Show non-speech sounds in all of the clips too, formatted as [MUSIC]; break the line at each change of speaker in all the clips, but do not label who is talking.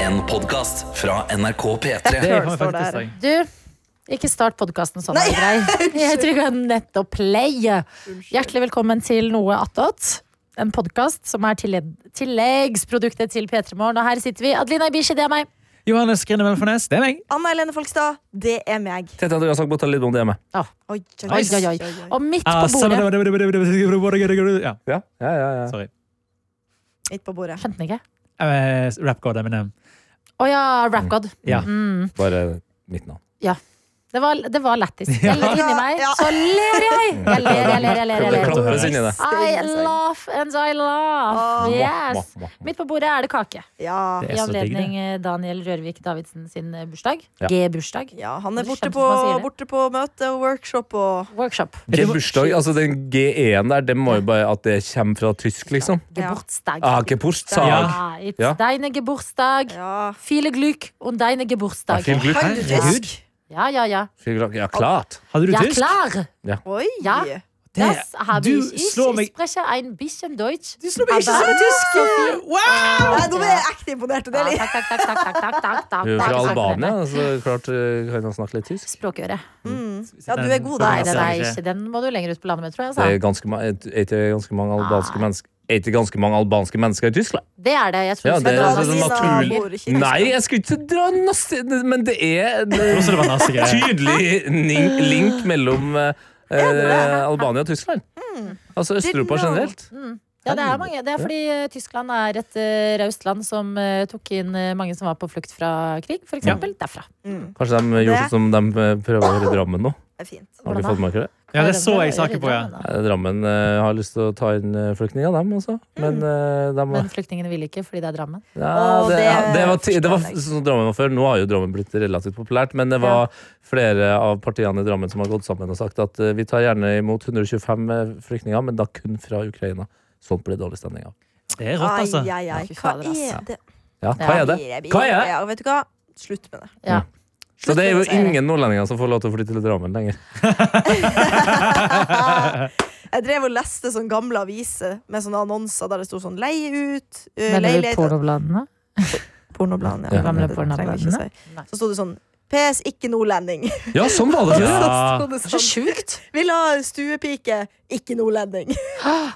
En podkast fra NRK P3.
Det
Før
kan
det
vi
står
faktisk
der.
si.
Du, ikke start podkasten sånn. er grei. Jeg trykka nettopp play. Hjertelig velkommen til Noe attåt. En podkast som er tillegg, tilleggsproduktet til P3 Morgen. Og her sitter vi. Adelina Ibishi, det er meg.
Johannes Grine Melfarnes, det er meg.
Anna Helene Folkstad, det er meg.
Tete Andreas Agbota Lidbom, det er meg.
Oi,
oi,
oi,
oi,
oi. Og midt
Ah,
på bordet
Ja,
Ja, ja, ja, ja.
sorry.
Midt på bordet.
Skjønte ikke.
Eh, Rap god Eminem.
Å ja, rap god.
Ja.
Mm.
Bare mitt navn.
Det var, det var lættis.
Ja.
Jeg ler inni meg,
Ja.
så ler jeg! Jeg ler, jeg ler, jeg ler.
Det
Jeg ler.
klart.
klappes inn i det.
I laugh and I laugh.
Ah.
Åh.
Yes.
Mwah, mwah, mwah.
Midt på bordet er det kake.
Ja.
Det
I
er så digg,
anledning
det.
eh, Daniel Rørvik Davidsen sin eh, bursdag.
Ja.
G-bursdag.
ja, han er
Det
borte
skjønte
på,
man sier det.
borte på møte og workshop og
Workshop.
G bursdag, altså Den G1 der, det må jo bare at det kommer fra tysk, liksom.
Geburtstag.
Ah, Geburtstag.
Ja.
Ja, it's
Ja.
deine Geburtstag.
Ja.
Viele Glück und deine Geburtstag.
Ja, viel Glück.
Kan du
Herregud.
tysk?
Ja, ja, ja.
Viel Glück. ja, klart.
Hadde du
Ja,
tysk?
klar!
Oi!
Ja.
Det-
Das habe
du
ich. Ich,
slår
ich
meg
spreche ein bisschen Deutsch.
Du slo meg ikke
Aber-
som tysk!
Sophie.
Nei, nå ble jeg ekte imponert. og Det
Ja,
er litt
takk, takk, takk, takk, takk, takk, takk, takk,
Du er fra
takk.
Albania, så klart eh, kan han snakke litt tysk.
Språkøre.
Ja, du er god, da.
Nei, den er
ikke-
ikke Den må du lenger ut på landet med, tror jeg.
Det er
Altså.
ganske, ma- et- et- et- ganske mange albanske mennesker Er ikke ganske mange albanske mennesker i Tyskland?
Det er det. Jeg tror
Ja, det er
Men
altså
Albania bor
naturlig
ikke i
Nei, jeg skulle ikke dra nazi... Men det er eh,
Jeg trodde det var nazigreier.
tydelig nin- link mellom eh, eh, Albania og Tyskland. Altså Øst-Europa
Didn't know.
generelt.
Ja, det er mange. Det er fordi eh, Tyskland er et eh, raust land som eh, tok inn eh, mange som var på flukt fra krig, for eksempel Derfra.
Kanskje de gjorde
Det-
sånn som de eh, prøver å gjøre i Drammen nå?
Mm, Det er fint.
Har
Hvordan
dere
da?
fått med dere det?
Ja, det så jeg saken på, ja.
Eh, Drammen eh, har lyst til å ta inn eh, flyktninger, dem også. Men eh, de
Men flyktningene vil ikke, fordi det er Drammen.
Ja,
Å,
det,
det
ja, det var, ti- det var
forstår jeg.
sånn Drammen var før. Nå har jo Drammen blitt relativt populært, men det var flere av partiene i Drammen som har gått sammen og sagt at eh, vi tar gjerne imot 125 eh, flyktninger, men da kun fra Ukraina. Sånt blir det dårlig stemning av.
Det er rått,
Ai,
altså.
ai, ai.
Fy
Hva
fader, ass.
er det?
Ja, hva er det? Hva er det?
Ja, vet du hva? Slutt med det.
Ja.
Så det er jo
Slutt med det.
ingen nordlendinger som får lov til å flytte til Drammen lenger.
[LAUGHS] Jeg drev og leste sånn gamle aviser med sånne annonser der det sto sånn 'leie ut', uh,
Eh,
Mener du
leilighet
pornobladene?
Pornobladene.
Ja.
Gamle
Det trenger vi ikke
pornobladene?
si.
Nei.
Så sto det sånn 'PS ikke nordlending'.
Ja, sånn var det før!
Ja.
[LAUGHS] Så sto det
Så
sånn, [LAUGHS]
sjukt!
Vil ha stuepike, ikke
[LAUGHS]
nordlending.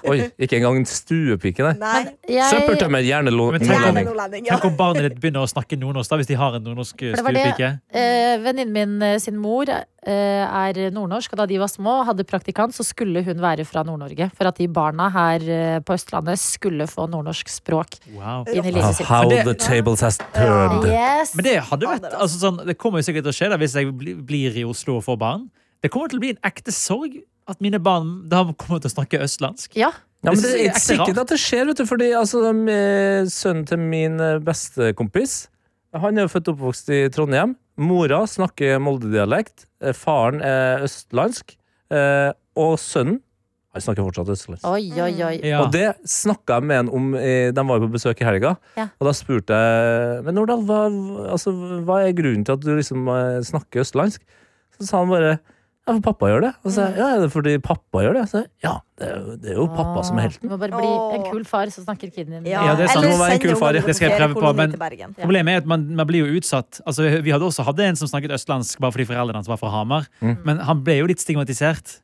Oi, ikke engang en stuepike, nei.
Nei,
Jeg,
Søppeltømmer, gjerne lo-
Men tenk om-
gjerne
nordlending.
nordlending. Ja.
Tenk om barnet ditt begynner å snakke nordnorsk da, hvis de har en nordnorsk eh,
For det var det-
stuepike.
eh, venninnen min eh, sin mor eh, er nordnorsk, og da de var små og hadde praktikant, så skulle hun være fra Nord-Norge. For at de barna her eh, på Østlandet skulle få nordnorsk språk
Wow.
inn i livet sitt.
Ah, How
Men det-
the tables has turned.
Yes!
Men det hadde vært,
Fader,
altså sånn, det kommer jo sikkert til å skje da, hvis jeg bli- blir i Oslo og får barn. Det kommer til å bli en ekte sorg at mine barn da kommer til å snakke østlandsk.
Ja.
Ja, men
Det
det
synes jeg er
er ikke
ekte
sikkert
rart.
at det skjer, vet du, fordi altså, de, eh, sønnen til min eh, bestekompis Han er jo født og oppvokst i Trondheim. Mora snakker Molde-dialekt. eh, Faren er østlandsk. eh, Og sønnen Han snakker fortsatt østlandsk.
Oi, oi, oi.
Ja.
Og det snakka jeg med en om eh, De var jo på besøk i helga,
Ja.
og da spurte jeg Men Nordahl, hva, altså, hva er grunnen til at du liksom eh, snakker østlandsk? Så sa han bare ja, for pappa gjør det. Og så, sa jeg, ja, er det fordi pappa gjør det? Så, jeg, ja, det er, jo, det er jo pappa som er helten.
Du må bare bli en kul far, så snakker kiden din.
Ja, det er sant.
Eller
Det må være en
send
kul far.
ungene på
Det skal jeg prøve på,
feriekoloni
men-
til Bergen.
Ja.
Problemet er at man, man blir jo utsatt. Altså, vi- vi hadde også hadde en som snakket østlandsk bare fordi foreldrene hans var fra Hamar.
Mm.
Men han ble jo litt stigmatisert.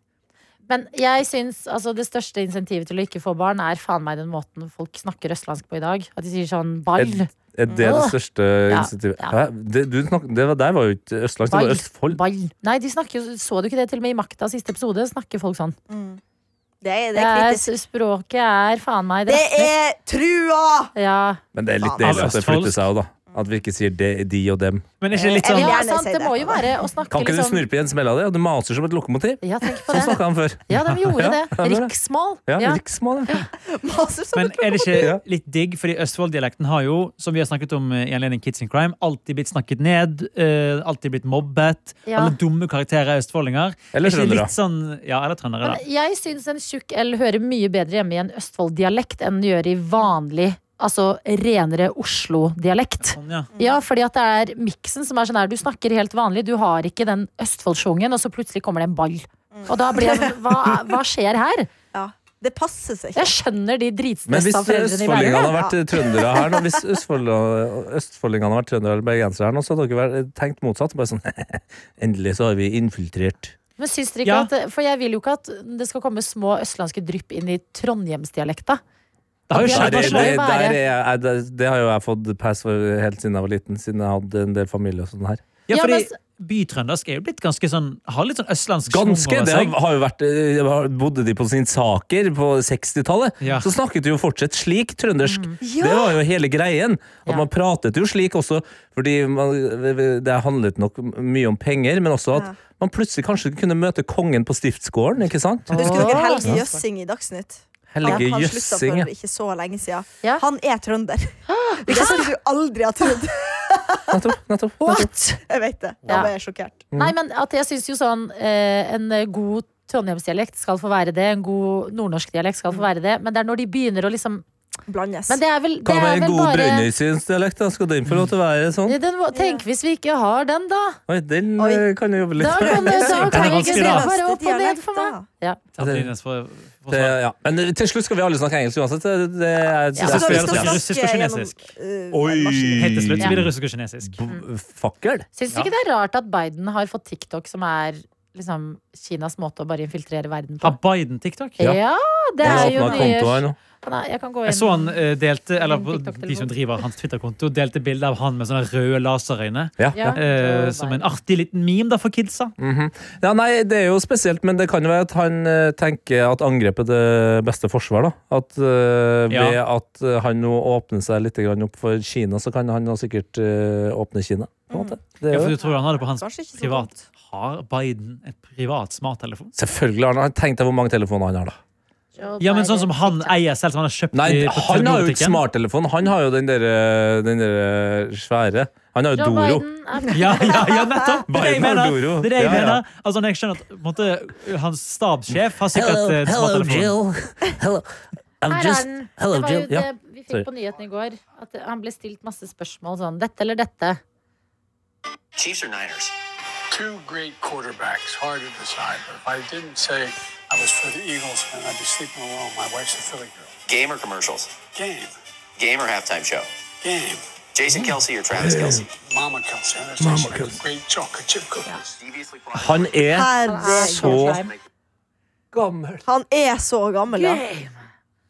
Men jeg syns altså, det største insentivet til å ikke få barn, er faen meg den måten folk snakker østlandsk på i dag. At de sier sånn ball.
Er, er det det
Åh.
største
Ah. Ja,
insentivet?
ja.
Hæ? Det, du snak, det var, der var jo ikke Østlands, det
Ball.
var Østfold.
Ball. Nei, de snakker jo Så du ikke det? Til og med i Makta siste episode snakker folk sånn.
Det er, det
Det
er
er,
kritisk.
språket er faen meg
Det
drastisk.
er trua! [LAUGHS]
Ja.
Men det er litt
Faen.
deilig at det
Østfold.
flytter seg òg, da. At vi ikke sier de, de og dem.
Men er ikke det litt
Jeg vil
sånn
Eh, ja,
gjerne
sant.
si
Det
det.
må jo være å snakke
Kan ikke du
liksom
snurpe i en smell av det? Ja, du maser som et lokomotiv.
Ja, tenk på
Sånn
det.
snakka han før.
Ja, de gjorde
Ja,
det.
det var det.
Riksmål.
Ja,
Ja.
riksmål, ja.
Maser som
Men
et
er det
Ja.
ikke litt digg? Fordi Østfold-dialekten har jo, som vi har snakket om eh, i anledning Kids in Crime, alltid blitt snakket ned, eh, alltid blitt mobbet.
Ja.
Alle dumme karakterer er østfoldinger.
Eller
Er ikke det
trøndere.
litt Sånn, ja, eller trøndere, da.
Men jeg syns en tjukk L hører mye bedre hjemme i en Østfold-dialekt enn den gjør i vanlig, altså renere Oslo-dialekt.
Sånn, ja.
Ja, fordi at det er miksen som er sånn her, du snakker helt vanlig, du har ikke den Østfoldsjungen, og så plutselig kommer det en ball. Og da blir jeg sånn, hva, hva skjer her?
Ja,
Det passer seg ikke.
Jeg skjønner de
Men hvis
dritstressa foreldrene i
østfoldingene
Bergen.
hadde vært trøndere her [LAUGHS] nå, hvis østfoldingene, østfoldingene hadde vært trøndere eller bergensere her nå, så hadde dere vært- tenkt motsatt. Bare sånn [LAUGHS] Endelig så har vi infiltrert.
Men syns dere
Ja.
ikke at For jeg vil jo ikke at det skal komme små østlandske drypp inn i trondhjemsdialekta.
Det har jo
Ja,
Der,
skjedd.
er-
det
det,
må jo være-
der er, jeg- det, det har jo jeg fått pass for helt siden jeg var liten, siden jeg hadde en del familie og sånn her.
Ja,
Ja,
fordi
men-
bytrøndersk er jo blitt ganske sånn Har litt sånn østlandsk schwung
Ganske!
over
Det
seg.
har har jo vært eh, har- Bodde de på sin saker på 60-tallet,
Ja.
så snakket de jo fortsatt slik trøndersk. Det
Ja!
var jo hele greien. At
Ja.
man pratet jo slik også, fordi man, det handlet nok mye om penger, men også at
Ja.
man plutselig kanskje kunne møte kongen på stiftsgården, ikke sant?
Husker dere Helge
Ja.
Jøssing i Dagsnytt?
Helge
han slutta
Jøssing. ja.
for ikke så lenge siden.
Ja.
Han er
[GASPS]
trønder. Hvilket jeg skulle aldri ha trodd.
Nettopp. nettopp, nettopp.
[LAUGHS]
Jeg vet det. Da
Ja.
ble jeg sjokkert.
Mm.
Nei, men at jeg syns jo sånn eh, En god trondhjemsdialekt skal få være det. En god nordnorsk dialekt skal få være det. Men det er når de begynner å liksom
Blandes.
Men det er vel, det
Hva med
er
en
vel
god
bare
brønnøysynsdialekt? da? Skal den få lov til å være sånn?
Ja, den, må- Tenk hvis vi ikke har den, da!
Oi, den
Oi.
eh, kan jeg jobbe litt
Da
med.
kan det da
Den er
kan vi ikke
vanskelig,
se
da.
bare opp og ned for meg.
Dialekt,
Tatt inn en for- for
Det,
svar.
ja. Men eh, til slutt skal vi alle snakke engelsk uansett. Det, det er,
Ja.
da. Så
det
da vi
er
spiller
skal
det
snakke
russisk og kinesisk.
gjennom, eh,
Oi.
maskinen.
Helt til slutt
Ja.
så blir det russisk og kinesisk.
Mm.
B- Fucker.
Syns du
Ja.
ikke det er rart at Biden har fått TikTok, som er liksom Kinas måte å bare infiltrere verden på?
Har Biden TikTok?
Ja, det
Han
er jo
åpnet konto her
nye
nå.
Nei, jeg kan gå inn.
Jeg så han eh, delte, eller
Din TikTok-telefon.
de som driver hans Twitter-konto, delte bilde av han med sånne røde laserøyne.
Ja, ja.
Ja.
Eh, som en artig liten meme da for kidsa.
Mhm. ja, nei, det er jo spesielt, men det kan jo være at han eh, tenker at angrep er det beste forsvar, da. At eh,
Ja.
ved at eh, han nå åpner seg litt grann opp for Kina, så kan han nå sikkert eh, åpne Kina, på en måte. Det er
Mm. Ja, for
jo,
du tror han har det på hans
Kanskje ikke så
privat.
dumt.
Har Biden et privat smarttelefon?
selvfølgelig har han han tenkt deg hvor mange telefoner han har, da.
Ja, men sånn som han eier selv, som han har kjøpt
Nei,
i- på
han har jo ikke
telefonbutikken.
smarttelefon, han har jo den der, eh, den der svære. Han har jo
Joe
Doro.
Biden
[LAUGHS]
er
Ja, ja, ja,
[LAUGHS]
nettopp! Det er det jeg
Biden har
mener.
Doro.
Det er det jeg
Ja, ja.
mener. Altså, når jeg skjønner at på en måte, hans stabssjef har sikkert eh, smarttelefon.
Hello. I'm
Her er den. Det var jo det
Ja.
vi
Sorry.
fikk på nyheten i går. At han ble stilt masse spørsmål sånn Dette eller dette?
Chiefs or Niners?
two great quarterbacks, hard to decide. But if I didn't say I was for the Eagles, then I'd be sleeping alone. My wife's a Philly girl.
Game or commercials?
Game,
Game or halftime show?
game.
Jason Kelsey or Travis Kelsey?
Mama Kelsey. Mama Kelsey. Great chocolate chip cookies.
Deviously
Han er
Herregud.
så
Prime.
gammel.
Han er så gammel, ja.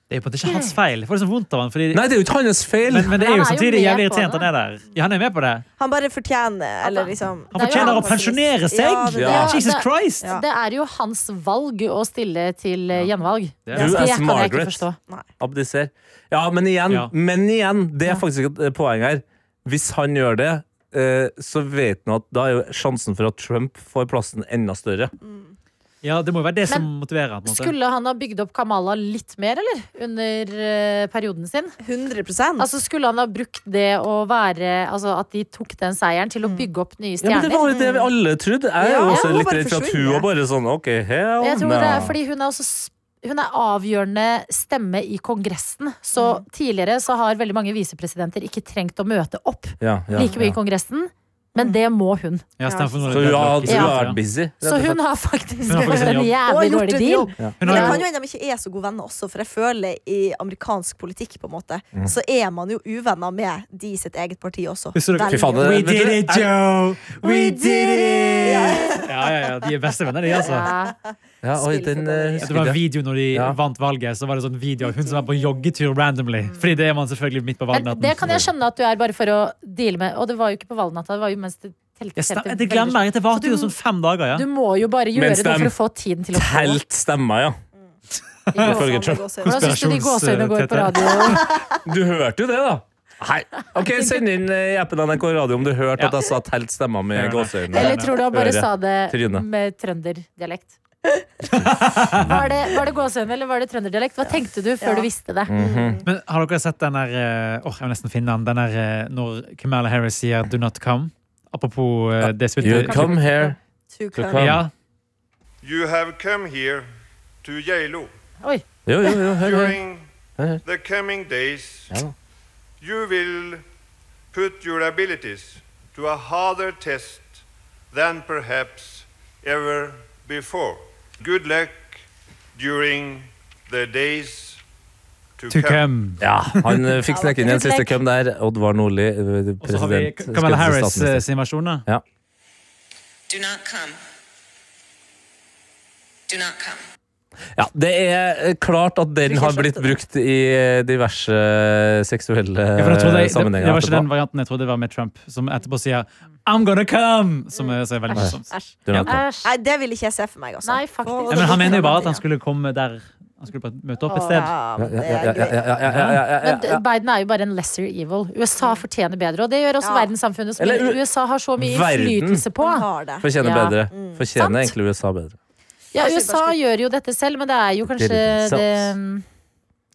Det er på en måte ikke hans feil. Jeg får liksom vondt av han, fordi,
Nei, det er jo ikke hans feil!
men, men det er
Men han
jo
er jo
samtidig
med
jævlig
på
irriterende
det.
at han er der. Ja, han er med på det.
Han bare fortjener, eller liksom
Han
Det er jo
fortjener å
han
pensjonere seg!
Ja, det er
Ja.
det.
Jesus
det-
Christ!
Ja.
Det er jo hans valg å stille til eh, gjenvalg.
Det
Det,
er
det. Du er
kan jeg ikke
Margaret.
forstå.
Abdiser. Ja, men igjen,
Ja.
men igjen det er faktisk et eh, poeng her. Hvis han gjør det, eh, så vet han at da er jo sjansen for at Trump får plassen enda større.
Ja, Det må jo være det som
Men
motiverer han. på en måte.
Skulle han ha bygd opp Kamala litt mer, eller? Under eh, perioden sin?
100
Altså, skulle han ha brukt det å være Altså at de tok den seieren til å bygge opp nye
Ja, men Det
stjerner?
var jo det vi alle trodde. Jeg er
Ja,
jo også
hun
litt
bare
redd for at hun
forsvinner.
var bare sånn OK, hell
Jeg tror det er
no.
fordi hun er også s- hun er avgjørende stemme i Kongressen. Så tidligere så har veldig mange visepresidenter ikke trengt å møte opp
ja, ja,
like mye i
ja.
Kongressen, men det må hun.
Ja, stemmer for noe
Så hun har, så hun
Ja.
har vært busy. rett
Så
og slett.
hun har faktisk
Hun har
gjort
faktisk en
en
jobb.
jævlig dårlig deal.
Hun
Men
har
det kan
jo-
jo hende de ikke er så gode venner også, for jeg føler i amerikansk politikk på en måte,
Mm.
så er man jo uvenner med de i sitt eget parti også.
Husker du-
Veldig.
Fy faen, det-
We
vet du-
did it, Joe! We
We
did
did
it! Ja, ja, ja, De er bestevenner, de, altså.
Ja.
Ja, oi,
Spill for
den
dårlig.
Ja, Det var
eh,
en
husker jeg.
video når de
Ja.
vant valget. Så var det sånn video av hun som er på joggetur randomly. Fordi det er man selvfølgelig midt på
Men
valgnatten.
det kan jeg skjønne at du er bare for å deale med. Og det var jo ikke på valgnatta, det var jo mens det telte.
Ja, stem, det
telte veldig-
glemmer jeg. Det
Så
varte
du-
jo sånn fem dager. ja.
Du må jo bare gjøre
Mens
det for
dem
å få tiden til å gå.
Telt stemmer, ja. Ifølge Trump.
Hvordan syns du de gåsehudene går på
Konspirasjons-
radio?
eh, Du hørte jo det, da. Hei. Ok, Send inn eh, i appen NRK Radio om du hørte
Ja.
at jeg sa telt stemmer med
Gjør det.
Eller
gåseøyne.
tror du han bare
Øre.
sa det
Tryne.
med trønderdialekt? Var det, var det gåsehud eller var det trønderdialekt? Hva tenkte du før
Ja.
du visste det?
Mhm.
Men har dere sett den der eh, Åh, jeg må nesten finne den. Den der eh, når Kamala Harris sier 'do not come'? Apropos eh, det
You
spilte
come here.
To
To
come.
come.
Ja,
You have come here to Yalo
Jo, jo, jo, hør, hør.
during the coming days. You will put your abilities to a harder test than perhaps ever before. Good luck during their days to,
To come.
Ja, han eh, fikk sneke inn en siste køm der. Oddvar Nordli, eh,
Og så har vi
president.
Kamala Harris eh,
statsminister.
sin versjon. da.
Ja.
Do not come. Do not come.
ja, det er eh, klart at den har blitt brukt i eh, diverse eh, seksuelle
Ja, for jeg trodde,
eh,
jeg- det, det
sammenhenger.
var ikke den
etterpå.
varianten jeg trodde det var med Trump, som etterpå sier I'm gonna come! Som er, så er veldig morsomt.
Æsj.
Du vet det.
Æsj.
Nei, det vil ikke jeg se for meg, altså.
Nei, faktisk.
Og- og
Ja, men han
det-
mener jo bare at han skulle komme der Han skulle bare møte opp et sted.
Å, ja,
Ja,
men det
ja, ja,
er
ja,
gøy.
ja, ja, ja, ja, ja,
Men d-
ja.
Biden er jo bare en lesser evil. USA fortjener bedre, og det gjør også
Ja.
verdenssamfunnet. Som
Eller u-
USA har så mye
Verden.
innflytelse på.
Han har det.
Fortjener
Ja.
bedre.
Sant.
Fortjener egentlig USA bedre.
Ja,
Kanskje
USA
bare skulle-
gjør jo dette selv, men det er jo kanskje
Did it
det, mm,
themselves.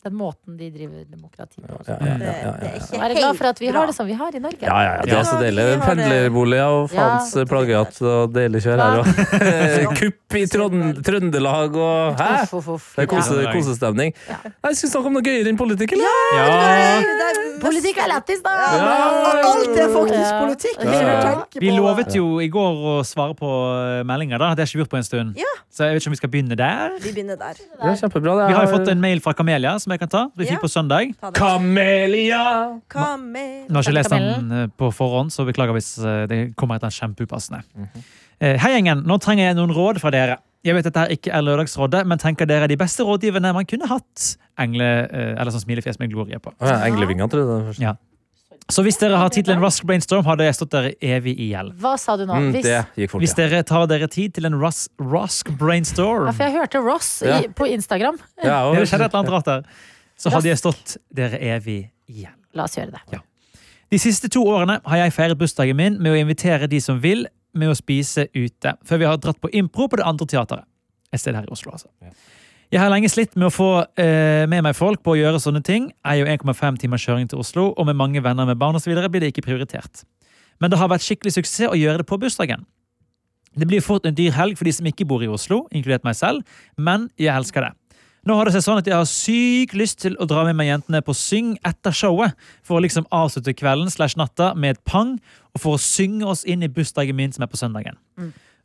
den måten de driver demokrati på.
Ja, ja, ja, ja,
Det
ja.
er
Og
ikke
er jeg glad for at vi
helt
har
bra.
det som vi har i Norge.
Ja, ja, ja, det er
Ja,
så deilig.
vi har det.
Pendlerboliger og faens
Ja.
plagiat og deilig kjør her [LAUGHS] òg. Kupp i Trond- Trøndelag og Hæ?
Uff, uff, uff.
Det er kose,
Ja.
kosestemning. Nei, Skal vi snakke om noe gøyere enn politikk, eller?
Ja,
Politikk er lættis, da!
Ja, men Alt er faktisk
Ja.
politikk.
Ja.
Hvis du tenker
Vi
på-
lovet jo i går å svare på eh, meldinger. da Det har ikke vi gjort på en stund.
Ja.
Så jeg vet ikke om vi skal begynne der.
Vi begynner der.
Det er kjempebra. Det
Vi har
er-
jo fått en mail fra Kamelia som jeg kan ta. Vi
Ja.
fikk på søndag.
Ta det.
Kamelia!
Hva med
Nå har jeg ikke lest den
Kamelen.
eh, på forhånd, så beklager hvis eh, det kommer etter en kjempeupassende. Eh, Hei, gjengen. Nå trenger jeg noen råd fra dere. Jeg vet dette her ikke er Lørdagsrådet, men tenker dere de beste rådgiverne man kunne hatt? Engle, eh, eller sånn smilefjes med glorie på.
Å, ja, Englevinga, tror jeg. det var først.
Så hvis dere har tittelen Rusk Brainstorm, hadde jeg stått dere evig i gjeld.
Hva sa du nå?
Mm,
Hvis,
det gikk fort.
Hvis
Ja.
dere tar dere tid til en Rus Rusk Brainstorm
ja, for jeg hørte Ross
Ja.
i, på Instagram.
Ja, og-
Det skjedde et eller annet rart der. Så hadde jeg stått dere evig i gjeld.
La oss gjøre det.
De siste to årene har jeg feiret bursdagen min med å invitere de som vil, med å spise ute, før vi har dratt på impro på det andre teateret. Et sted her i Oslo, altså. Jeg har lenge slitt med å få eh, med meg folk på å gjøre sånne ting. Jeg er jo 1,5 timers kjøring til Oslo, og med mange venner med barn og så videre blir det ikke prioritert. Men det har vært skikkelig suksess å gjøre det på bursdagen. Det blir fort en dyr helg for de som ikke bor i Oslo, inkludert meg selv, men jeg elsker det. Nå har det seg sånn at jeg har syk lyst til å dra med meg jentene på syng etter showet, for å liksom avslutte kvelden slash natta med et pang, og for å synge oss inn i bursdagen min som er på søndagen.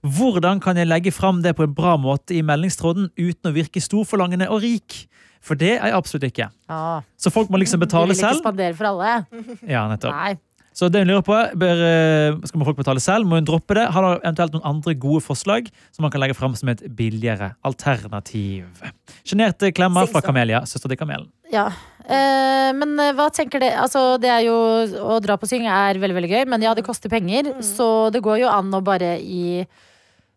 Hvordan kan jeg legge fram det på en bra måte i meldingstråden uten å virke storforlangende og rik? For det er jeg absolutt ikke.
Ja.
Så folk må liksom
Vi
betale
vil ikke
selv.
spandere for alle.
Ja, nettopp.
Nei.
Så det hun lurer på, bør, eh, skal må folk betale selv? Må hun droppe det? Har hun eventuelt noen andre gode forslag som man kan legge fram som et billigere alternativ? Sjenerte klemmer fra
Singsong.
Kamelia, søster til Kamelen.
Ja. Eh, men eh, hva tenker det Altså, det er jo Å dra på syng er veldig, veldig gøy, men ja, det koster penger, så det går jo an å bare i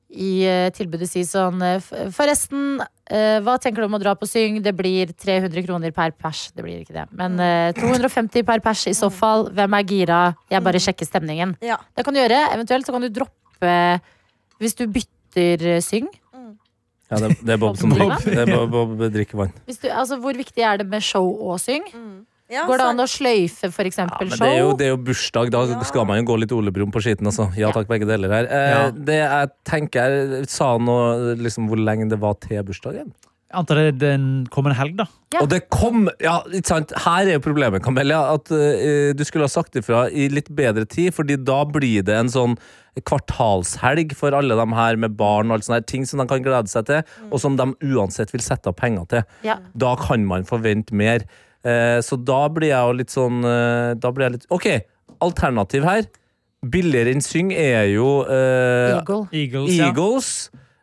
i eh, tilbudet si sånn eh, f- Forresten, eh, hva tenker du om å dra på syng? Det blir 300 kroner per pers. Det blir ikke det, men eh, 250 per pers i så fall. Hvem er gira? Jeg bare sjekker stemningen.
Ja.
Det kan du gjøre. Eventuelt så kan du droppe eh, Hvis du bytter eh, syng.
Ja, det, det er Bob som
Bob.
drikker, det er Bob, Bob drikker vann.
Hvis du, altså, hvor viktig er det med show og syng?
Mm. Ja,
Går det
sant.
an å sløyfe for eksempel
Men det
show?
er, jo, det er jo bursdag, da skal man jo gå litt Ole Brumm på skiten. Altså. Ja takk, begge deler her. Eh,
Ja.
Det jeg tenker er- Sa han noe liksom, hvor lenge det var til bursdagen?
Jeg antar det er den kommende helg, da.
Ja.
Og det kom Ja, ikke sant. Her er jo problemet, Kamelia. At eh, du skulle ha sagt ifra i litt bedre tid, Fordi da blir det en sånn kvartalshelg for alle de her med barn og alt sånt her. Ting som de kan glede seg til,
Mm.
og som de uansett vil sette av penger til.
Ja.
Da kan man forvente mer. Eh, så da blir jeg jo litt sånn eh, Da blir jeg litt OK, alternativ her. Billigere enn syng er jo eh,
Eagle.
Eagles, ja.
Eagles,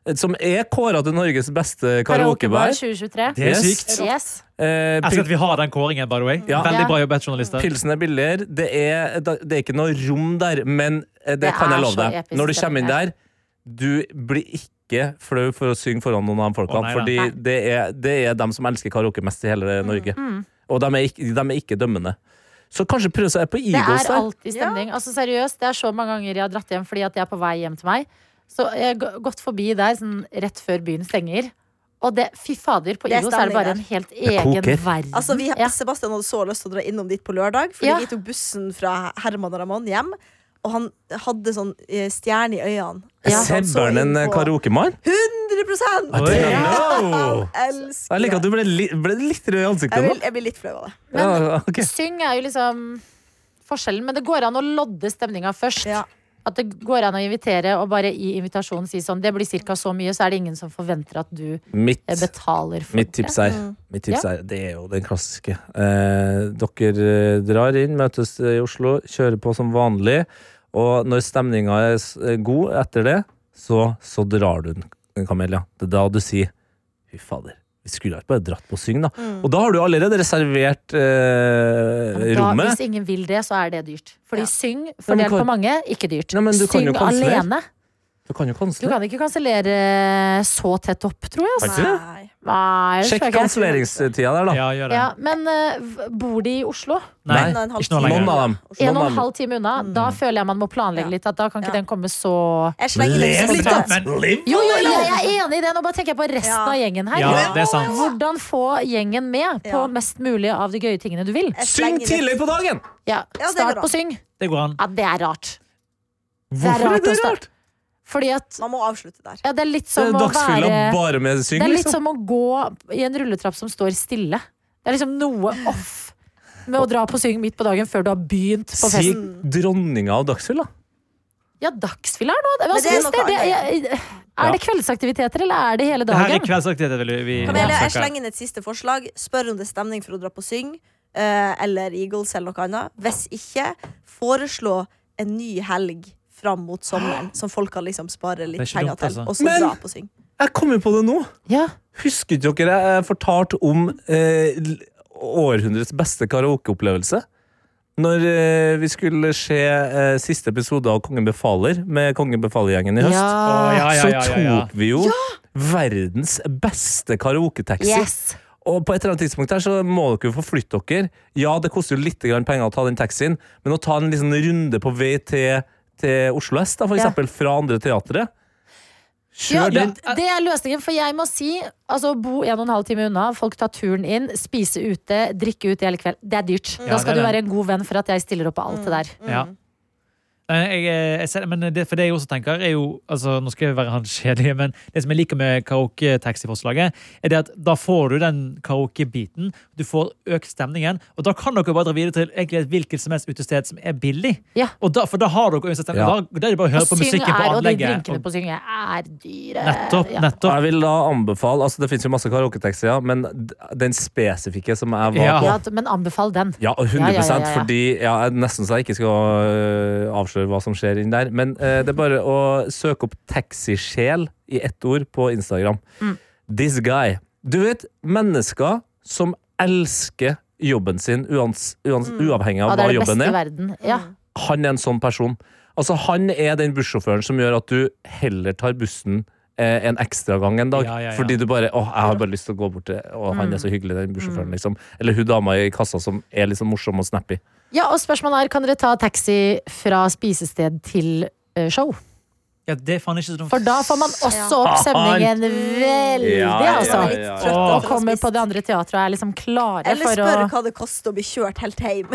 eh, som er kåra til Norges beste
Karaokebar
karaokebar.
2023.
Det er
Yes.
sykt.
Yes.
Eh,
Jeg skal at vi har den kåringen, by the way.
Ja.
Veldig
Ja.
bra jobbet, journalister.
Pilsen er billigere. Det er, det er ikke noe rom der, men eh, det,
Det er
kan jeg love
så
deg.
episk
Når du
stemning
kommer inn der, du blir ikke flau for å synge foran noen av de folkene.
Å, nei, nei.
fordi det er, det er dem som elsker karaoke mest i hele
Mm,
Norge. Og de er, ikke, de er ikke dømmende. Så kanskje prøve seg på
Det
Eagles
er
der.
alltid stemning. Altså Seriøst, det er så mange ganger jeg har dratt hjem fordi at jeg er på vei hjem til meg. Så jeg har gå- gått forbi der sånn, rett før byen stenger. Og det, fy fader, på
Det er
Eagles er det
stemning
bare
der.
en helt
koker.
egen verden.
Altså, vi,
ja.
Sebastian hadde så lyst til å dra innom dit på lørdag, fordi
Ja.
vi tok bussen fra Herman og Ramón hjem. Og han hadde sånn eh, stjerne i øynene.
Ja.
Så han så
Sebber'n en eh,
inn på-
karaokemann?
100
Oi.
[LAUGHS]
Hello!
Elsker
Jeg liker at du ble, li, ble litt rød i
Jeg,
ansiktet nå.
vil, jeg blir litt flau av det.
Ja, ok.
Syng er jo liksom forskjellen, men det går an å lodde stemninga først.
Ja.
At det går an å invitere og bare i invitasjonen si sånn Det blir ca. så mye, så er det ingen som forventer at du eh,
Mitt
betaler for
Mitt tips er,
Mm.
mitt tips er Det er jo den klassiske. Eh, dere eh, drar inn, møtes eh, i Oslo, kjører på som vanlig. Og når stemninga er s- eh, god etter det, så, så drar du den, Kamelia. Det er da du sier Fy fader, vi skulle ikke bare dratt på syng, da. Og da har du allerede reservert
Ja,
eh,
men da,
rommet.
Hvis ingen vil det, så er det dyrt. Fordi syng,
men
fordelt
kan-
på mange, ikke dyrt.
Nei, men du kan
syng
jo kansellere.
alene.
Du kan jo
Du
kansellere.
kan ikke kansellere så tett opp, tror jeg.
Kan
Altså.
ikke det?
Nei.
Nei, det
Sjekk
tror jeg ikke.
kanselleringstida der, da.
Ja, gjør det.
Ja, men eh, v- bor de i Oslo?
Nei,
Nei,
Nå er en halv
ikke noe
time.
lenger.
Noen av dem.
En
Noen
og
av
en
dem.
halv time unna. Da føler jeg man må planlegge litt. At da kan ikke
Ja.
den komme så
Jeg slenger den
Lev litt,
spontant.
da! Lev!
Jo, jo, jeg jeg er enig i det. Nå bare tenker jeg på resten
Ja.
av gjengen her.
Ja, det er sant.
Hvordan få gjengen med på
Ja.
mest mulig av de gøye tingene du vil.
Jeg
Syng
slenger den-
tidlig på dagen!
Ja,
Ja, det går
Start
an.
på syng.
Det går an.
Ja, det er rart.
Hvorfor er
rart å
det
starte.
rart?
Fordi at
Man må avslutte der.
ja, det er litt
Det
som
er
å
dagsfylla
være
bare med syng,
Det er litt
liksom.
som å gå i en rulletrapp som står stille. Det er liksom noe off med å dra på syng midt på dagen før du har begynt på
Si
festen.
dronninga av dagsfylla.
Ja, dagsfylla er noe Hva
Men det er
synes
noe
dere? Det, jeg- er det kveldsaktiviteter, eller er det hele
Det her er
dagen?
kveldsaktivitet. vil vi- vi
Kamelia, jeg
snakker.
slenger inn et siste forslag. Spør om det er stemning for å dra på Syng eh, eller Eagles eller noe annet. Hvis ikke, foreslå en ny helg fram mot sommeren som folk kan liksom spare litt
Det er ikke
penger
dumt,
til,
altså.
og så
Men-
dra på Syng.
Jeg kommer på det nå.
Ja.
Husker ikke dere jeg fortalte om eh, l- århundrets beste karaokeopplevelse? Når eh, vi skulle se eh, siste episode av Kongen befaler med Kongen befaler-gjengen i høst,
Å, Ah, ja, ja, ja, ja, ja.
så tok vi jo verdens beste karaoketekster.
Yes.
Og på et eller annet tidspunkt her så må dere jo forflytte dere. Ja, det koster jo litt grann penger å ta den taxien, men å ta en liten runde på vei til, til Oslo S, da, for
Ja.
eksempel, fra andre teatret
Ja,
Kjør
det
den.
er løsningen, for jeg må si altså, bo en og en halv time unna, folk tar turen inn, spise ute, drikke ute hele kvelden. Det er dyrt.
Ja,
Da skal
det Mm.
du
er
være en god venn for at jeg stiller opp på alt det der.
Ja. Nei, Jeg, eh, jeg ser, men det, for det jeg også tenker er jo, altså Nå skal jeg være han kjedelige, [LAUGHS] men det som jeg liker med karaoketaxiforslaget, er det at da får du den karaokebiten, du får økt stemningen, og da kan dere bare dra videre til egentlig et hvilket som helst utested som er billig.
Ja.
Og da, for da har dere uansett stemning.
Ja.
Da, da er det bare å høre på
Og syng
musikken på
er, og de
anlegget.
drinkene
og-
på syng er dyre.
Nettopp,
Ja.
nettopp.
Jeg vil da anbefale altså Det fins jo masse karaoketekster, ja, men d- den spesifikke som jeg var
Ja.
på
Ja, d- men anbefal den.
Ja, og 100
Ja, ja, ja, ja.
fordi ja, jeg- Nesten så jeg ikke skal øh, avsløre hva som skjer inn der. Men eh, det er bare å søke opp 'taxisjel' i ett ord på Instagram.
Mm.
This guy. Du vet, mennesker som elsker jobben sin, uans, uans,
Mm.
uavhengig
Ja,
av
det
hva
er det beste
jobben
i
er.
verden. Ja.
Han er en sånn person. Altså, han er den bussjåføren som gjør at du heller tar bussen eh, en ekstra gang en dag.
Ja, ja, ja.
Fordi du bare åh, jeg har bare lyst til å gå bort til Å, han er så hyggelig, den bussjåføren, liksom. Eller hun dama i kassa som er liksom morsom og snappy.
ja, og spørsmålet er, kan dere ta taxi fra spisested til eh, show?
Ja, det er faen ikke så dumt.
For da får man også opp stemningen veldig,
Ja, ja,
altså.
ja,
Litt
ja.
trøtt
Åh.
Og
etter å ha
kommer
spist.
på det andre teatret og er liksom klare
Eller
for
spør
å
hva det koster å bli kjørt helt
[LAUGHS]
hjem.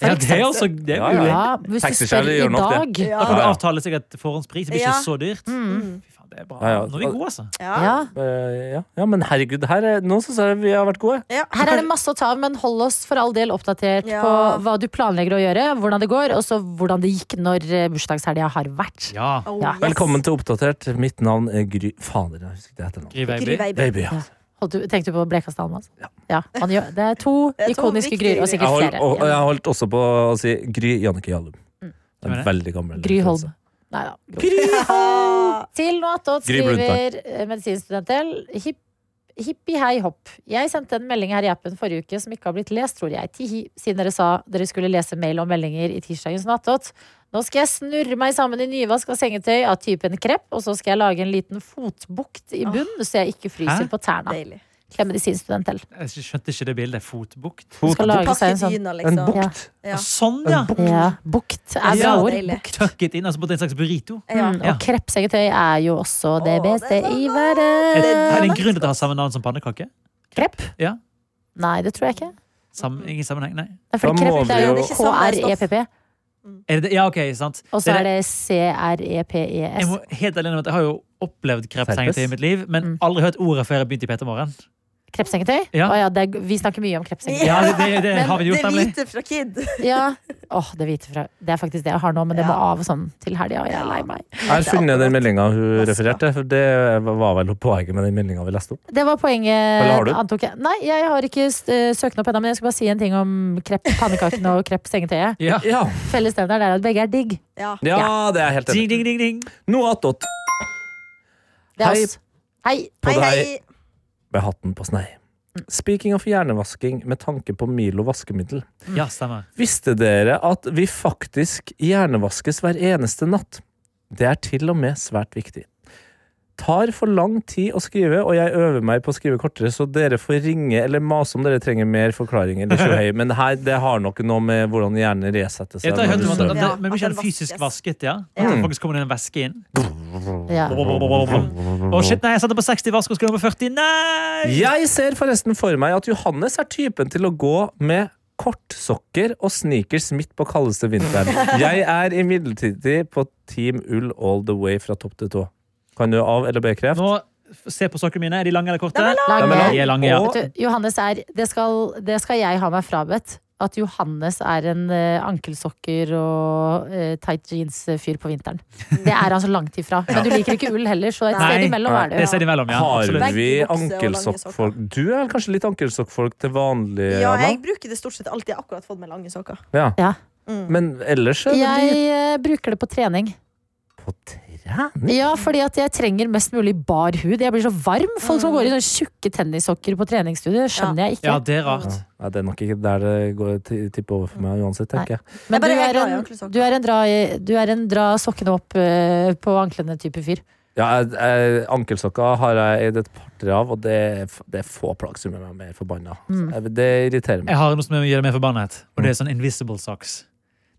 ja, det er altså det er
Ja, ja.
mulig.
Ja, hvis du
Taxikjære
spør i
gjør nok
dag.
Ja.
Da kan du avtale seg et forhåndspris. Det blir
Ja.
ikke så dyrt.
Mm.
Fy faen, det er bra.
Ja, ja.
Nå er vi gode, altså.
Ja.
Ja.
Eh, ja. ja, men herregud, det her er, nå syns jeg vi har vært gode.
Ja.
Her er det masse å ta av, men hold oss for all del oppdatert
Ja.
på hva du planlegger å gjøre, hvordan det går, og så hvordan det gikk når eh, bursdagshelga har vært.
Ja.
Oh,
Ja.
yes.
Velkommen til Oppdatert. Mitt navn er Gry Fader, jeg husker ikke det heter nå.
Gry Veiby.
Gry Veiby.
Baby, ja.
Holdt du, tenkte du på Blekastad Almas? Ja. man gjør, det er to
Det er to
ikoniske
viktige
Gryr,
Gryr.
og
Jeg
sikkert
holdt,
flere.
og,
Ja.
jeg holdt også på å si Gry Jannicke Jallum. Det er
Hvem er
en veldig gammel.
Mm. Gry
referanse.
Holm. Nei da. Gry Holm! Til noe attåt
Gry Brundtland.
skriver eh, medisinstudenten hipp, Hippi hei hopp. Jeg sendte en melding her i appen forrige uke som ikke har blitt lest, tror jeg. Tihi, siden dere sa dere skulle lese mail og meldinger i tirsdagens Nattåt. Nå skal jeg snurre meg sammen i nyvask av sengetøy av typen krepp, og så skal jeg lage en liten fotbukt i bunnen, så jeg ikke
Hæ?
fryser på tærne.
Deilig.
Klem medisinstudent til.
Jeg skjønte ikke det bildet. Fotbukt.
Du skal lage
Pakke
seg en sånn
dyna,
En
liksom.
bukt.
Ja.
Sånn, ja!
ja, Mm. bukt. Er bra
Ja,
ord.
deilig.
Tuck it in, altså på en slags burrito.
Ja.
Mm,
Ja.
og kreppsengetøy er jo også det
Å,
beste
det er
i
så
Er det, er det
verden.
en grunn til at det har samme navn som pannekake?
Krepp?
Ja.
Nei, det tror jeg ikke.
Sam, ingen sammenheng, nei.
Nei, For
Da må
krepp det er jo E
vi jo-
Det er ikke samme
K-R-E-P-P,
Er det, det? ja, ok, sant.
og så
Det
er
er-
det E
Jeg,
C-R-E-p-e-s.
må, helt alene om at jeg har jo opplevd krepsengetøy i mitt liv, men
Mm.
aldri hørt ordet før jeg begynte i P3 Morgen.
Krepsengetøy?
Ja.
Å ja, det er, vi snakker mye om krepsengetøy.
Ja, det, det, det
Men
har vi gjort,
det
nemlig.
hvite fra Kid. [LAUGHS]
Ja. Åh, det hvite fra Det er faktisk det jeg har nå, men det må av sånn til helga, og jeg er lei meg.
Jeg har funnet den meldinga hun refererte. for Det var vel poenget med den meldinga vi leste opp.
Det var poenget.
Eller har du?
Antok jeg. Nei, jeg har ikke eh, søkt den opp ennå, men jeg skal bare si en ting om krepp, pannekakene og krepsengetøyet.
Ja.
Ja,
Fellesnevneren er at begge er digg.
Ja.
det er jeg helt
Ding,
enig
ding,
i.
ding, ding.
Noe attåt
Det er
Hei.
oss. Hei.
på
Hei,
deg
hei. Mm.
med hatten på snei. Speaking of hjernevasking med tanke på Milo vaskemiddel.
Ja, stemmer.
Visste dere at vi faktisk hjernevaskes hver eneste natt? Det er til og med svært viktig. Tar for lang tid å skrive, og jeg øver meg på å skrive kortere, så dere får ringe eller mase om dere trenger mer forklaring eller tjohei.
[LAUGHS]
Men her, det har nok noe med hvordan hjernen resetter seg.
Jeg tar
når
høyt
du
om at
sover.
at det,
Ja, at
men vi
den
kjenner fysisk
vaskes.
vasket, ja. At det faktisk kommer en væske inn.
Ja.
Å, shit, nei, jeg satte på 60 vask og skulle over 40. Nei!
Jeg ser forresten for meg at Johannes er typen til å gå med kortsokker og sneakers midt på kaldeste
[LAUGHS]
vinteren. Jeg er imidlertid på Team Ull all the way fra topp til tå. Kan du av- eller bekrefte?
Nå, f- se på sokkene mine. Er de lange eller korte?
Lange.
Nei, men
De er lange, ja.
Og-
Vet du, Johannes er det skal, det skal jeg ha meg frabedt. At Johannes er en eh, ankelsokker og eh, tight jeans-fyr på vinteren. Det er han så langt ifra. Men du liker ikke ull heller, så et
Nei.
sted imellom er
Det
det.
ser de mellom, ja.
Har
Absolutt.
vi
Begge bukser og lange
ankelsokkfolk? Du er vel kanskje litt ankelsokkfolk til vanlig,
Ja,
eh, Anna?
jeg bruker det stort sett alltid. Jeg har akkurat fått med lange sokker.
Ja.
Ja.
Mm.
Men ellers er det
Jeg eh, bruker det på trening.
litt på trening.
Ja, fordi at jeg trenger mest mulig bar hud. Jeg blir så varm. Folk som går i sånne tjukke tennissokker på treningsstudio, skjønner jeg
Ja,
ikke.
det er rart.
Nei, det er nok ikke der det går ti- tipper over for meg uansett, tenker jeg.
Jeg
Men du
bare er
er
glad i
en,
ankelsokker.
du er en, dra, i- du er en dra sokkene opp eh, på anklene-type fyr.
Ja, jeg- jeg- Ankelsokker har jeg eid et par-tre av, og det er, f- det er få plagg som gjør meg mer forbanna.
Mm.
Jeg- Det irriterer meg.
Jeg har noe som gjør meg forbannet, og det er sånn invisible socks.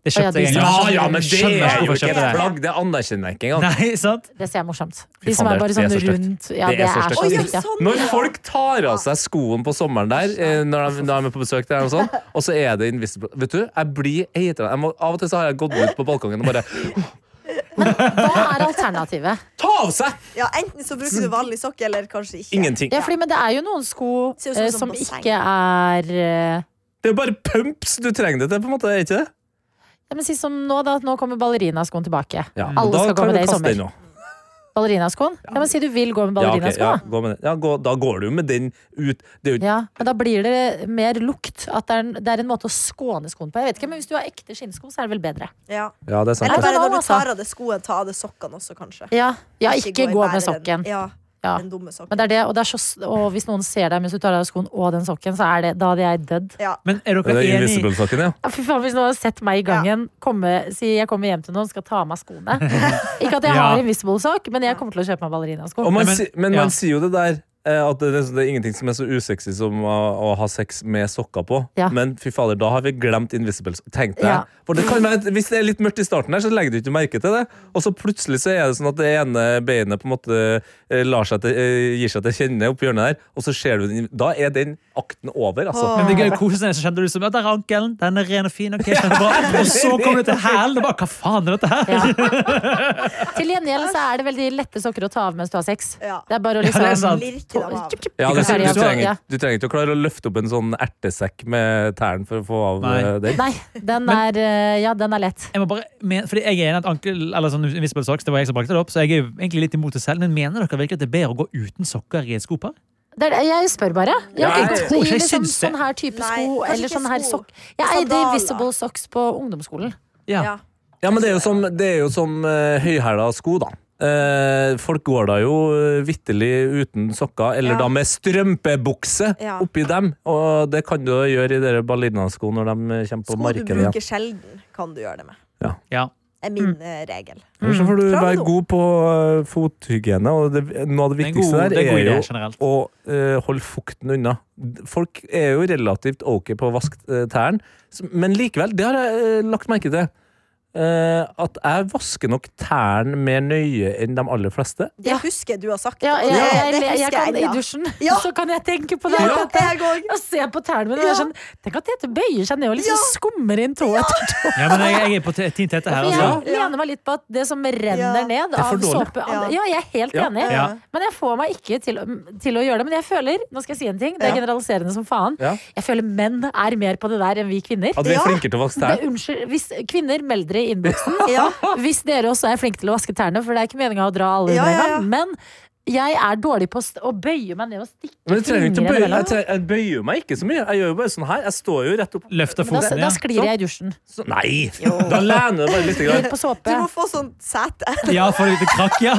Det
Å, ja,
kjøpte jeg
de-
en gang.
Ja, ja, men det
Skjønner ikke hvorfor jeg kjøpte det.
plagg, det anerkjenner jeg ikke engang.
Nei, sant?
Det ser jeg er morsomt.
Fy
De som
faen,
er bare
det er-
sånn
det er så stygt.
rundt. Ja, det er så
stygt.
stygt. ja.
sånn,
Når
ja.
folk tar av seg skoen på sommeren der, eh, når de, når de er på besøk der, og, sånn, og så er det invisible Vet du, jeg blir eitrende. Jeg må- Av og til så har jeg gått ut på balkongen og bare
Hva er alternativet?
Ta av seg!
Ja, Enten så bruker du vanlig sokk, eller kanskje ikke.
Ingenting.
Ja, fordi, men det er jo noen sko
Ser ut som
eh,
sånn
som
basseng.
ikke er eh,
Det er bare pumps du trenger det til, på en måte. Er ikke det?
ja, men Si som nå, da. at Nå kommer ballerinaskoen tilbake.
Ja,
Alle
da
skal gå
kan
med
du
det i
kaste
sommer.
den nå.
Ballerinaskoen? Ja, men Si du vil gå med
Ja, ok,
ballerinasko,
ja,
da.
gå med den. ja gå, da går du jo med den ut. Det er jo
Ja, men da blir det mer lukt. At det er, en, det er en måte å skåne skoen på. Jeg vet ikke, men Hvis du har ekte skinnsko, så er det vel bedre.
Ja.
Ja, det er sant.
Eller
Jeg
det.
bare når
tar
du
av,
tar av deg skoen, ta av deg sokkene også, kanskje.
Ja,
i
ikke gå
bare
med sokken.
Den, ja,
Ja.
den dumme sokken.
Men det er det, og, det er så, s- og hvis noen ser deg mens du tar av deg skoen og den sokken, så er det, da hadde jeg dødd.
Men er
Det
dere
er
enige?
Invisible-sokken, ja.
Ja, Fy faen, Hvis noen har sett meg i gangen, komme, si jeg kommer hjem til noen skal ta av meg
[LAUGHS]
skoene Ikke at jeg
Ja.
har invisible-sak, men jeg kommer til å kjøpe meg ballerinasko.
Og man,
Nei, men-
si- men
ja.
man sier jo det der eh, at det, det er ingenting som er så usexy som å, å ha sex med sokker på.
Ja.
Men fy fader, da har vi glemt Invisibles. Tenk deg.
Ja.
For det kan være, at hvis det er litt mørkt i starten, her, så legger du ikke merke til det. Og så plutselig så er det sånn at det ene beinet på en måte eh, lar seg til, eh, gir seg til kjenne oppi hjørnet der, og så ser du den. Da er den akten over, altså.
Men det er gøy å kose seg, så kjente du som, ja, der er ankelen, den er ren og fin, ok, kjempebra. Og så kom det til hælen, og bare, hva faen er dette her?
Ja. Til gjengjeld så er det veldig lette sokker å ta av mens du har sex.
Ja.
Det er bare å
Ja, det er sant.
liksom
Lirke dem av.
Ja, det,
Ikke
du,
ferdig, altså.
trenger,
Ja.
ikke- du trenger ikke å klare å løfte opp en sånn ertesekk med tæren for å få av
Nei.
eh, den.
Nei, den er, eh, ja, den er lett.
Jeg må bare, men, fordi jeg er enig i at ankel, eller sånn invisible socks, det var jeg som brakte det opp, så jeg er jo egentlig litt imot det selv, men mener dere virkelig at det er bedre å gå uten sokker i et skopar?
Det er, det- jeg spør bare. Jeg,
Nei.
tenkte i
Jeg syns
liksom,
det.
sånn her type
Nei,
sko
kanskje
eller
ikke
sånn her
sko.
sokk. Jeg eide
Sandaler.
invisible socks på ungdomsskolen.
Ja.
Ja.
Ja, men det er jo som, det er jo som eh, høyhæla sko, da. Eh, folk går da jo eh, vitterlig uten sokker, eller
Ja.
da med strømpebukse
Ja.
oppi dem. Og det kan du jo gjøre i dere ballerinasko når de eh, kommer på
Sko du
markedet igjen.
bruker sjelden, kan du gjøre det med.
Ja.
er min
Mm.
eh, regel.
Så får du
Mm. Fra
være
nå.
god på eh, fothygiene, og det, noe av det
Det er en god,
viktigste
det er en god
der er
idé
jo
generelt.
å eh, holde fukten unna. Folk er jo relativt ok på å vaske eh, tærne, s- men likevel, det har jeg eh, lagt merke til. eh, at jeg vasker nok tærne mer nøye enn de aller fleste.
Det husker jeg du har sagt.
Ja,
og det,
jeg, jeg,
det
jeg,
husker
kan, I
ennå.
dusjen
Ja.
så kan jeg tenke på det.
Ja,
at jeg,
jeg òg.
og se på tærne mine. og det er
Ja.
Sånn, tenk at Tete bøyer seg ned og liksom
Ja.
skummer inn tå etter tå.
Ja, men jeg, jeg er på te- Team Tete her,
For jeg
altså.
Ja.
lener meg litt på at det som renner
Ja.
ned
er for
av
dårlig.
såpe
Ja.
Ja, jeg er helt
Ja.
enig.
Ja.
Men jeg får meg ikke til, å- til å gjøre det. Men jeg føler, nå skal jeg si en ting, det er
Ja.
generaliserende som faen.
Ja.
Jeg føler menn er mer på det der enn vi kvinner.
At vi er
Ja.
flinkere til å vaske
Det,
tærne.
unnskyld, hvis kvinner meld dere i innboksen.
[LAUGHS] Ja.
Hvis dere også er flinke til å vaske tærne, for det er ikke meninga å dra alle
Ja,
under en
ja, ja.
gang. Men jeg er dårlig på å st- å bøye meg ned og stikke
Men jeg, trenger ikke å bøye,
fingrene
jeg, tre- jeg bøyer meg ikke så mye. Jeg gjør jo bare sånn her. Jeg står jo rett opp.
Løfter
Da,
foten,
da
ja.
sklir jeg i dusjen.
Så, nei! Da lener du bare litt.
[LAUGHS]
Grann.
Litt på
Du
såpe.
må få sånn sete.
Ja, for litt krakk,
[LAUGHS]
ja.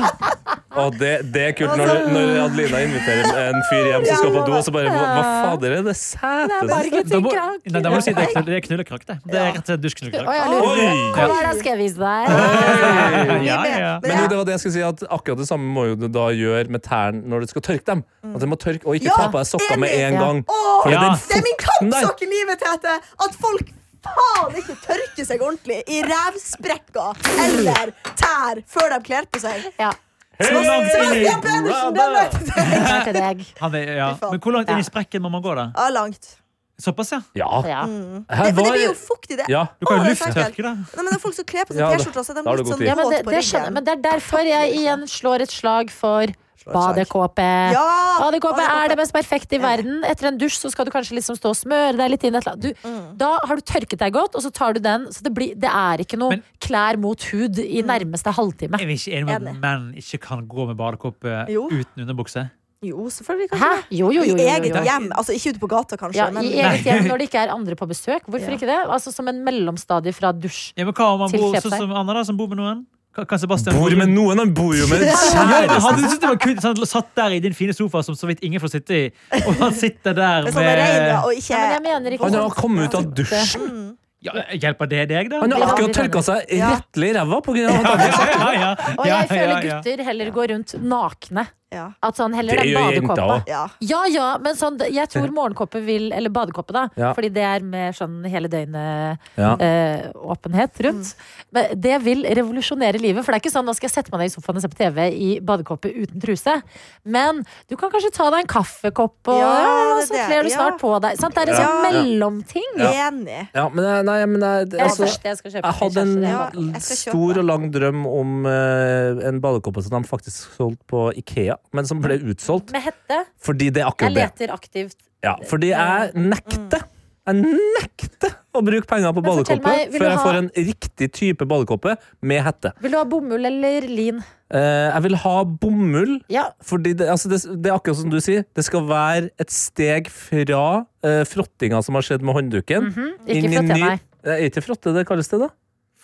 Å, det, det er kult når,
Altså-
når Adelina inviterer en fyr hjem som skal på do, og så bare Hva, hva fader er det
Bare
setet?
[LAUGHS]
ikke
Da må,
krakk.
nei, da må du si det er knull- det er knullekrakk, det. Det er rett og slett
Å,
dusjknullekrakk.
jeg lurer.
Oi!
Kom her, da skal jeg vise deg.
Ja, ja, ja.
Men
Men jo,
jeg-
det var det jeg skulle si, at akkurat det samme må jo du da gjøre med tærne når du skal tørke dem. At du må tørke, Og ikke
Ja,
ta på deg sokker med en
enig.
gang.
Åh,
Fordi
Ja.
den
Det er min
fukten der-
kampsak i livet, Tete! At folk faen ikke tørker seg ordentlig i revsprekker eller tær før de kler på seg.
Ja,
Sebastian Pedersen, den vet du det!
den er
[LAUGHS]
til deg.
Han er, ja.
Fy faen.
Men hvor langt inn
Ja.
i sprekken må man gå, da?
Ja, langt.
Såpass, ja?
Ja.
Ja.
Her
Det, men det
var-
blir jo fuktig, det.
Ja.
Du kan
Å,
jo
det er så ekkelt.
lufttørke, da.
Nei, men det er folk som kler på
Ja,
seg
da-
T-skjorter, så er
da har
de litt
du god
sånn
tid.
Ja, men det,
våt på
det skjønner jeg,
ryggen.
men det er derfor jeg igjen slår et slag for
et slag.
badekåpe.
Ja,
Badekåpe
badekåpe.
er det mest perfekte i verden. Etter en dusj så skal du kanskje liksom stå og smøre deg litt inn. et eller annet. Du,
Mm.
da har du tørket deg godt, og så tar du den. Så det, blir, det er ikke noe
Men-
klær mot hud i
Mm.
nærmeste halvtime.
Er vi ikke enige om at
Enig.
menn ikke kan gå med badekåpe
Jo.
uten underbukse?
Jo, selvfølgelig
Hæ?
kanskje det.
Jo, jo, jo.
I
jo, jo,
eget
jo.
hjem. Altså ikke ute på gata, kanskje.
Ja,
men
I eget hjem når det ikke er andre på besøk. Hvorfor
Ja.
ikke det? Altså Som en mellomstadie fra dusj.
Ja, men hva om han
Til
bor
kjøp
sånn
seg.
som Anna, da, som bor med noen? Ka- Kan Sebastian
Bor med noen, han bor jo med
Ja, men
kjæresten.
hadde du syntes det var kult hvis han satt der i din fine sofa, som så vidt ingen får sitte i, og han sitter der
sånn Med sånne regler
med
og ikke
Ja, men jeg mener ikke
Han har
sånn-
kommet ut av dusjen.
ja, Hjelper det deg, da?
Han har akkurat tørka seg rettelig i ræva på grunn av at han
Ja, ja, ja.
Og
Ja,
jeg føler
ja, ja.
gutter heller går rundt nakne.
Ja.
At sånn heller
Det
den
gjør jenter
badekåpa.
også.
Ja.
Ja, ja, men sånn, jeg tror morgenkoppe vil Eller badekoppe, da.
Ja.
Fordi det er med sånn hele døgnet
Ja.
eh, åpenhet
Mm.
rundt. Men det vil revolusjonere livet. For det er ikke sånn nå skal jeg sette meg ned i sofaen og se på TV i badekåpe uten truse. Men du kan kanskje ta deg en kaffekopp, og ja,
Ja, det er
så
det.
kler du
Ja.
snart på deg. Sant? Det er en sånn
Ja.
mellomting.
Enig.
Ja, men jeg, nei, men jeg,
Det er det
altså,
første jeg skal kjøpe.
jeg
til
hadde
kjæresten, det er
Ja.
badekopp.
en
jeg skal kjøpe.
stor og lang drøm om eh, en badekoppe som de faktisk solgte på Ikea, men som ble utsolgt.
Med hette.
Fordi det er
Jeg
akkurat det.
leter aktivt.
Ja, fordi jeg nekter. Jeg nekter å bruke penger på
Mm. Men fortell
badekåpe
meg, vil
før
du
jeg
ha-
får en riktig type badekåpe med hette.
Vil du ha bomull eller lin?
Eh, jeg vil ha bomull,
Ja.
fordi det, altså det, det er akkurat som du sier. Det skal være et steg fra eh, frottinga som har skjedd med håndduken.
Mhm. Ikke
inn i
frotté,
ny-
nei.
Eh, Er ikke frotte det kalles det, da?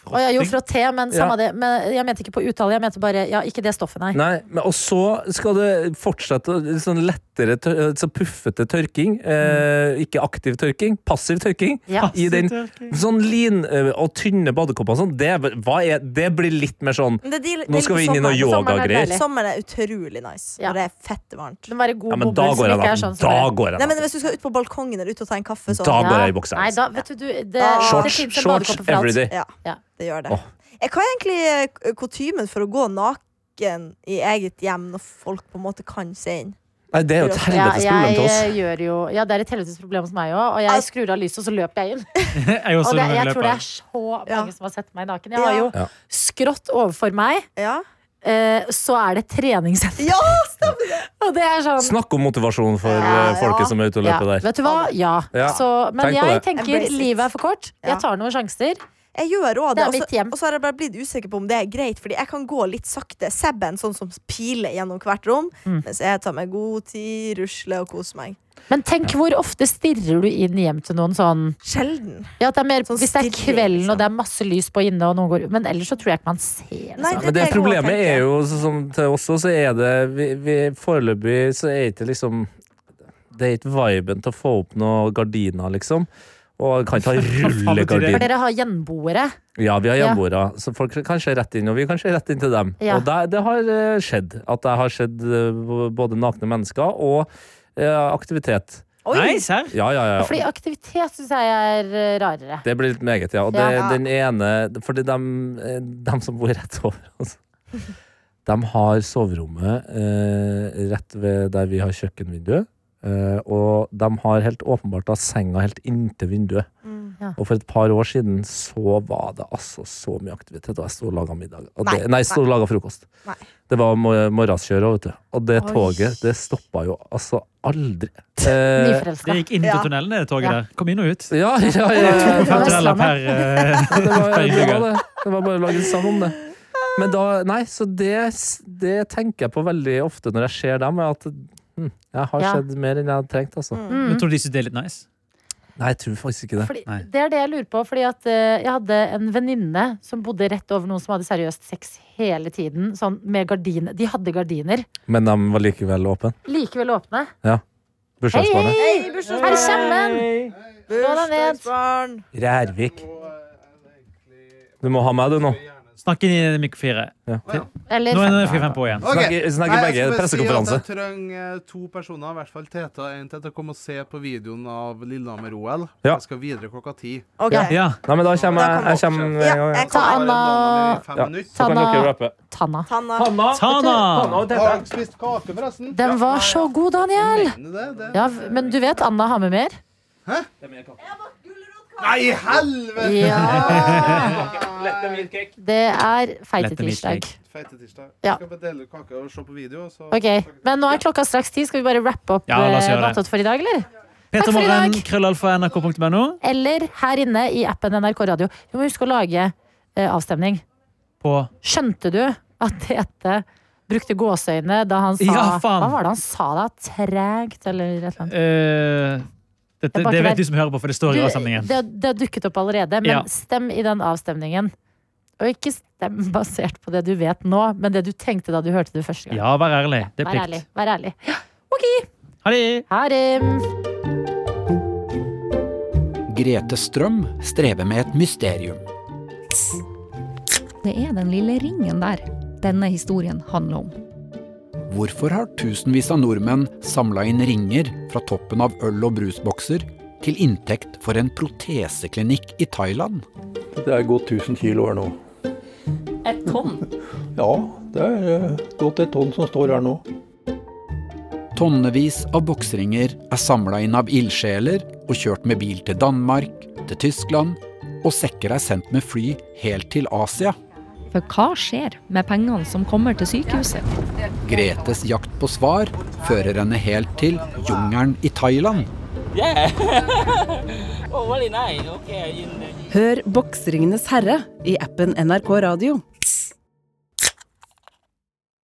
Å ja, jo, frotté, men samme
Ja.
det. Men jeg mente ikke på uttale, jeg mente bare ja, ikke det stoffet, nei.
Nei, men, Og så skal det fortsette å- litt sånn lettere, tør- eh, så puffete tørking. Eh,
Mm.
ikke aktiv tørking, passiv tørking.
Ja.
I den
Sitter-
Sånn lin eh, og tynne badekopper og sånn, det, er- hva er, det blir litt mer sånn
Men det er de- det er
Nå skal vi
litt
inn i noe
sommeren.
yogagreier.
deilig.
Sommeren er utrolig nice når
Ja.
det er fette varmt.
Det må være god
Ja, men da
bomull
går
som
jeg
ikke
da.
er sånn som
Da
det.
går jeg
Nei, men
da.
Hvis du skal ut på balkongen eller ut og ta en kaffe, så
Da
Ja.
går jeg i bokser.
Nei, da, vet du, du det,
Ah.
det
Shorts,
finnes en
shorts
badekåpe for alt.
every day.
Ja,
Ja.
det gjør det.
Åh.
Eh, Hva er egentlig eh, kutymen for å gå naken i eget hjem når folk på en måte kan se inn?
Nei, det er jo et
Ja,
helvetes problem
jeg
til oss.
eh, gjør jo Ja, det er et helvetes problem hos meg òg, og
Al-
jeg skrur av lyset, og så løper jeg inn.
Jeg
Og
også
det,
når jeg
jeg tror det
løper.
er så
Ja.
mange som har sett meg naken. Jeg har jo
Ja.
skrått overfor meg,
Ja,
eh, så er det et treningssenter.
ja
[LAUGHS] Og det er sånn
Snakk om motivasjon for
Ja,
eh, folket
ja.
som er ute og
ja,
løper der.
Vet du hva? Ja.
Ja.
Så, men
Tenk på
jeg
det.
tenker
Embrace it.
livet er for kort.
Ja.
Jeg tar noen sjanser.
jeg gjør også
Det
det.
er
Og
mitt
så-
hjem.
Og så har jeg bare blitt usikker på om det er greit, Fordi jeg kan gå litt sakte. Seb er en sånn som piler gjennom hvert rom,
Mm.
mens jeg tar meg god tid, rusler og koser meg.
Men tenk hvor ofte stirrer du inn hjem til noen sånn
Sjelden.
Ja, at det er mer,
Sånn
Hvis det er
stirring,
kvelden
liksom.
og det er masse lys på inne, og noen går, men ellers så tror jeg ikke man ser det.
Nei,
sånn.
Men det
jeg går og
problemet
tenker.
er jo så- som til oss også, så er det vi, vi, Foreløpig så er ikke liksom Det er ikke viben til å få opp noen gardiner, liksom. Og
[LAUGHS]
kan ikke ha
For
rullegardin.
dere har gjenboere.
Ja, vi har
Ja.
hjemboere, så folk kan se rett inn, og vi kan se rett inn til dem.
Ja.
Og det, det har eh, skjedd. At det har skjedd eh, både nakne mennesker og eh, aktivitet.
Nei, serr?
Ja, ja, ja.
Fordi aktivitet syns jeg er eh, rarere.
Det blir litt meget, ja. Og det,
Ja.
den ene Fordi dem, eh, dem som bor rett over oss, de har soverommet eh, rett ved der vi har kjøkkenvinduet. Eh, og de har helt åpenbart da senga helt inntil vinduet.
Ja.
Og for et par år siden så var det altså så mye aktivitet, og jeg sto og laga middag. Og
Nei,
det, nei, jeg sto og laga frokost.
Nei.
Det var mor- morgenskjøret, vet du. Og det
Oi.
toget, det stoppa jo altså aldri. Eh,
Det
Nyforelska.
gikk inn til
Ja.
tunnelen, det toget
Ja.
der. Kom inn og ut.
ja, ja, ja, ja.
[LAUGHS]
Det var
Fem tunneler per, eh,
Det [LAUGHS] var,
per
det,
innbygger.
var det. det var bare å lage en sang om det. Men da, nei, så det, det tenker jeg på veldig ofte når jeg ser dem, er at hm, jeg har
Ja. Mm.
sett mer enn jeg hadde trengt. Altså.
Men tror du de synes det er litt nice?
Nei, jeg tror faktisk ikke det.
Fordi,
Nei.
det er det jeg lurer på. Fordi at eh, Jeg hadde en venninne som bodde rett over noen som hadde seriøst sex hele tiden. Sånn med gardiner. De hadde gardiner.
Men de var likevel åpne.
Likevel åpne. Hei,
Bursdagsbarnet.
hei!
Hei, bursdagsbarn!
Her kommer den! deg ned.
Bursdagsbarn!
Rærvik. Du må ha meg, du, nå.
Snakk inn i mikrofon fire.
Eller
Nå er det
fem.
fem på igjen.
Snakker, snakker begge pressekonferanse.
Jeg trenger eh, to personer, i hvert fall Teta og en til, til å komme og se på videoen av Lillehammer-OL.
Ja.
Jeg skal videre klokka ti.
Ok.
Ja.
Nei, men da kommer jeg. Jeg kommer med
Ja,
en gang.
jeg
ja.
Ta
kommer.
Anna
Ja. Så kan dere rappe.
Tanna.
Tanna.
Tana!
Har dere spist kake, forresten?
Den var så god, Daniel!
Mener du det? det?
Ja, v- men du vet Anna har med mer?
Nei, helvete!
Ja! Det er feite
Lette
tirsdag.
Feite tirsdag.
Ja.
Jeg skal bare dele kake og se på video. Så
Ok, Men nå er klokka straks ti. Skal vi bare rappe opp
Ja, la oss
eh,
gjøre det.
Nattått for i dag, eller? Takk for i
Petermorgen,
dag.
krøllalfa, nrk.no.
Eller her inne i appen NRK Radio. Vi må huske å lage eh, avstemning.
På
Skjønte du at Tete brukte gåseøyne da han sa
Ja, faen.
Hva var det han sa da? Tregt, eller et eller annet?
eh, dette,
Jeg bare
Det vet du
ikke
som hører på, for det står i
Du,
avstemningen.
det, det har dukket opp allerede, men
Ja.
stem i den avstemningen. Og ikke stem basert på det du vet nå, men det du tenkte da du hørte det første gang.
Ja, vær ærlig. Det er
Vær ærlig.
plikt.
Vær ærlig. Ja, Ok,
Ha det!
ha det!
Grete Strøm strever med et mysterium.
Det er den lille ringen der denne historien handler om.
Hvorfor har tusenvis av nordmenn samla inn ringer fra toppen av øl- og brusbokser til inntekt for en proteseklinikk i Thailand?
Det er gått 1000 kilo her nå.
Et tonn.
Ja, det er eh, gått et tonn som står her nå.
Tonnevis av boksringer er samla inn av ildsjeler og kjørt med bil til Danmark, til Tyskland, og sekker er sendt med fly helt til Asia.
For hva skjer med pengene som kommer til sykehuset?
Gretes jakt på svar fører henne helt til jungelen i Thailand.
Hør Boksringenes herre i appen NRK Radio.